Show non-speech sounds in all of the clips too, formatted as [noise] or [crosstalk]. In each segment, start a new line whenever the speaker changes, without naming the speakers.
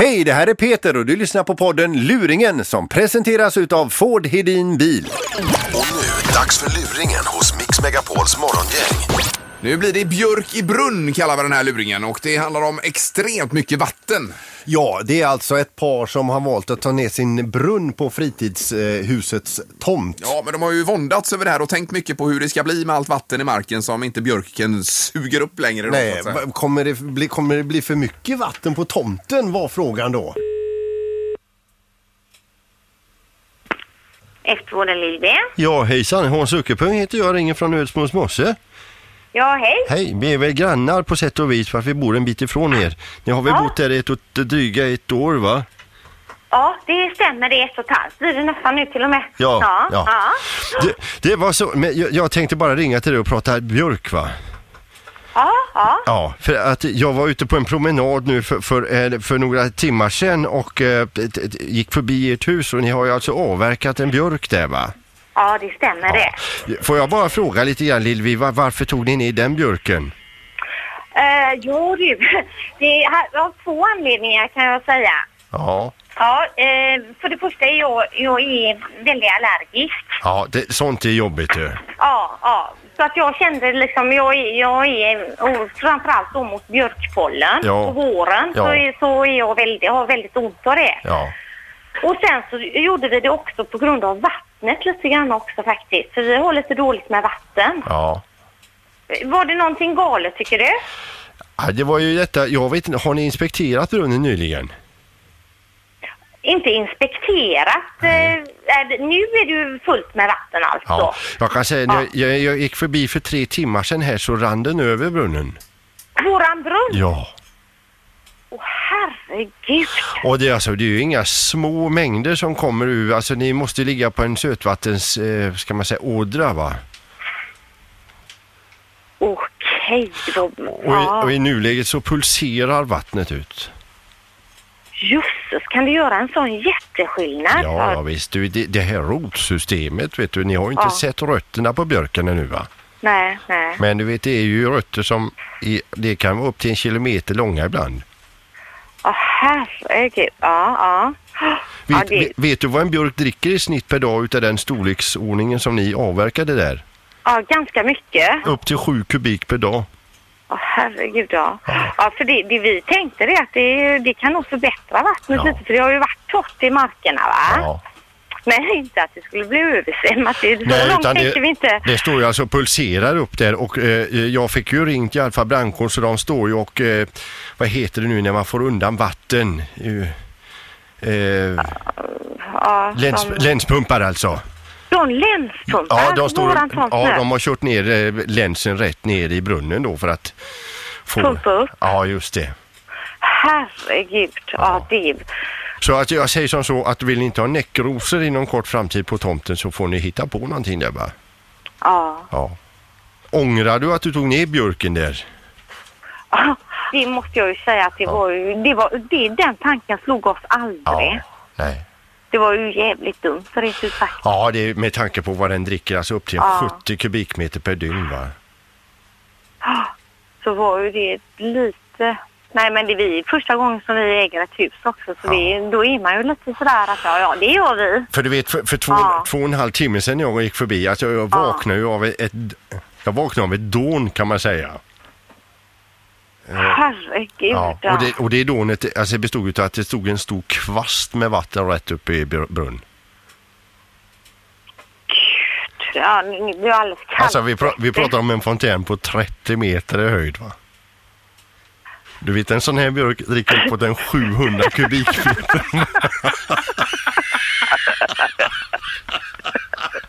Hej, det här är Peter och du lyssnar på podden Luringen som presenteras utav Ford Hedin Bil.
Och nu, dags för luringen hos Mix Megapols morgongäng.
Nu blir det Björk i brunn kallar vi den här luringen och det handlar om extremt mycket vatten.
Ja, det är alltså ett par som har valt att ta ner sin brunn på fritidshusets tomt.
Ja, men de har ju våndats över det här och tänkt mycket på hur det ska bli med allt vatten i marken som inte björken suger upp längre. då, så
Nej,
att säga.
va- kommer det, bli, kommer det bli för mycket vatten på tomten var frågan då.
Eftervården Lilby.
Ja hejsan, Hans Uckepung heter jag, ringer från Ödsmåls mosse.
Ja, hej.
Hej, vi är väl grannar på sätt och vis för att vi bor en bit ifrån er. Ni har väl
Ja.
bott där ett och dryga ett år va?
Ja, det stämmer. Det är ett och ett halvt. Blir det nästan nu till och med?
Ja,
Ja.
ja.
ja.
Det, det var så, men jag, jag tänkte bara ringa till dig och prata björk va?
ja, ja.
Ja, för att jag var ute på en promenad nu för, för, eh, för några timmar sedan och eh, t- t- gick förbi ert hus och ni har ju alltså avverkat en björk där va?
ja det stämmer det.
Får jag bara fråga lite grann Lilvi, va- varför tog ni ner den björken?
Uh, jo du, [laughs] det är av två anledningar kan jag säga.
Ja,
Ja, eh, för det första är jag, jag är väldigt allergisk.
ja det, sånt är jobbigt ju.
Ja, ja. Så att jag kände liksom, jag är, jag är och framförallt då mot björkpollen
Ja.
på våren så,
Ja.
är, så är jag väldigt, har väldigt ont av det.
Ja.
Och sen så gjorde vi det också på grund av vattnet lite grann också faktiskt. För vi har lite dåligt med vatten.
Ja.
Var det någonting galet tycker du?
Ja, det var ju detta, jag vet inte, har ni inspekterat brunnen nyligen?
Inte inspekterat. Eh, är det- nu är det ju fullt med vatten alltså.
Ja. Jag kan säga, när
Ja.
jag, jag, jag gick förbi för tre timmar sedan här så rann den över brunnen.
Våran brunn?
Ja.
Åh herregud.
Och det, är alltså, det är ju inga små mängder som kommer ur, alltså ni måste ligga på en sötvattens, eh, ska man säga, ådra va?
Okej då.
Och i,
Ja.
och i nuläget så pulserar vattnet ut.
Jösses, kan du göra en sån jätteskillnad?
Ja, ja visst, du, det, det här rotsystemet vet du, ni har ju inte
Ja.
sett rötterna på björken ännu va?
Nej, nej.
Men du vet, det är ju rötter som, är, det kan vara upp till en kilometer långa ibland.
Åh herregud. Ja, ja. Ja,
Vet,
det-
vet, vet du vad en björk dricker i snitt per dag utav den storleksordningen som ni avverkade där?
Ja, ganska mycket.
Upp till sju kubik per dag.
Ja, herregud ja. ja för det, det vi tänkte det att det, det kan nog förbättra vattnet
Ja.
lite för det har ju varit torrt i markerna va? Men inte att det skulle bli översvämmat. Det- Så långt tänkte vi inte.
det, det står ju alltså och pulserar upp där och eh, jag fick ju ringt i alla fall brandkåren så de står ju och eh, vad heter det nu när man får undan vatten? Eh, eh,
Ja,
läns,
de,
länspumpar alltså.
de länspumpar
Ja, de, står,
våran tomt
ja,
nu.
de har kört ner eh, länsen rätt ner i brunnen då för att få...
Pumpa upp.
Ja, just det.
Herregud. Ja, det...
Så att jag säger som så att vill ni inte ha näckrosor inom kort framtid på tomten så får ni hitta på någonting där va?
Ja. [laughs]
Ja. Ångrar du att du tog ner björken där?
Det måste jag ju säga att det var ju... Det var, det, den tanken slog oss aldrig.
Nej.
Det var ju jävligt dumt rent ut sagt.
Ja, det är med tanke på vad den dricker, alltså upp till
Ja.
70 kubikmeter per dygn va?
så var ju det lite... Nej men det är vi, första gången som vi äger ett hus också så vi, då är man ju lite sådär att ja, ja det gör vi.
För du vet, för, för två,
Ja.
två och en halv timme sedan jag gick förbi, alltså jag
Ja.
vaknade ju av ett, jag vaknade av ett dån kan man säga.
Herregud.
Ja. Och det, och det dånet, alltså det bestod utav att det stod en stor kvast med vatten rätt upp i br- brunn.
ja, nu blir jag alldeles kall.
Alltså vi, pra- vi pratar om en fontän på 30 meter i höjd va? Du vet en sån här björk dricker på den 700 kubikmeter.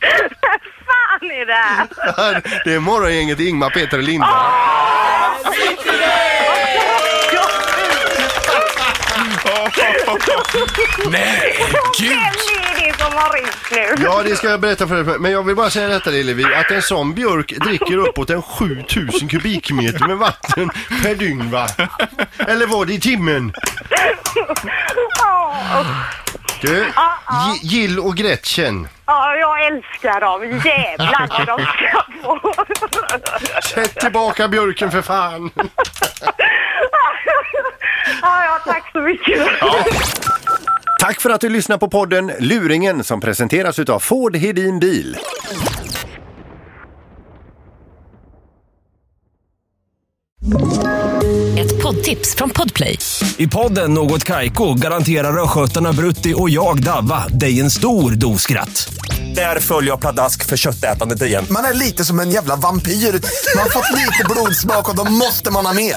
fan är det
[laughs]
här?
Det är morgongänget Ingmar, Peter och Linda.
Nej,
Vem är det som har ringt nu?
Ja, det ska jag berätta för dig. Men jag vill bara säga detta Lillevi, att en sån björk dricker uppåt en 7000 kubikmeter med vatten per dygn va? Eller var det i timmen?
Ja, och-
Du, Gi- Jill och Gretchen,
ja, jag älskar dem. Jävlar vad de ska få.
[laughs] sätt tillbaka björken för fan.
Ja, ja, tack så mycket.
Tack för att du lyssnar på podden Luringen som presenteras utav Ford Hedin Bil.
Ett poddtips från Podplay.
I podden Något Kaiko garanterar östgötarna Brutti och jag, Davva, dig en stor dos skratt. Där följer jag pladask för köttätandet igen.
Man är lite som en jävla vampyr. Man har fått lite blodsmak och då måste man ha mer.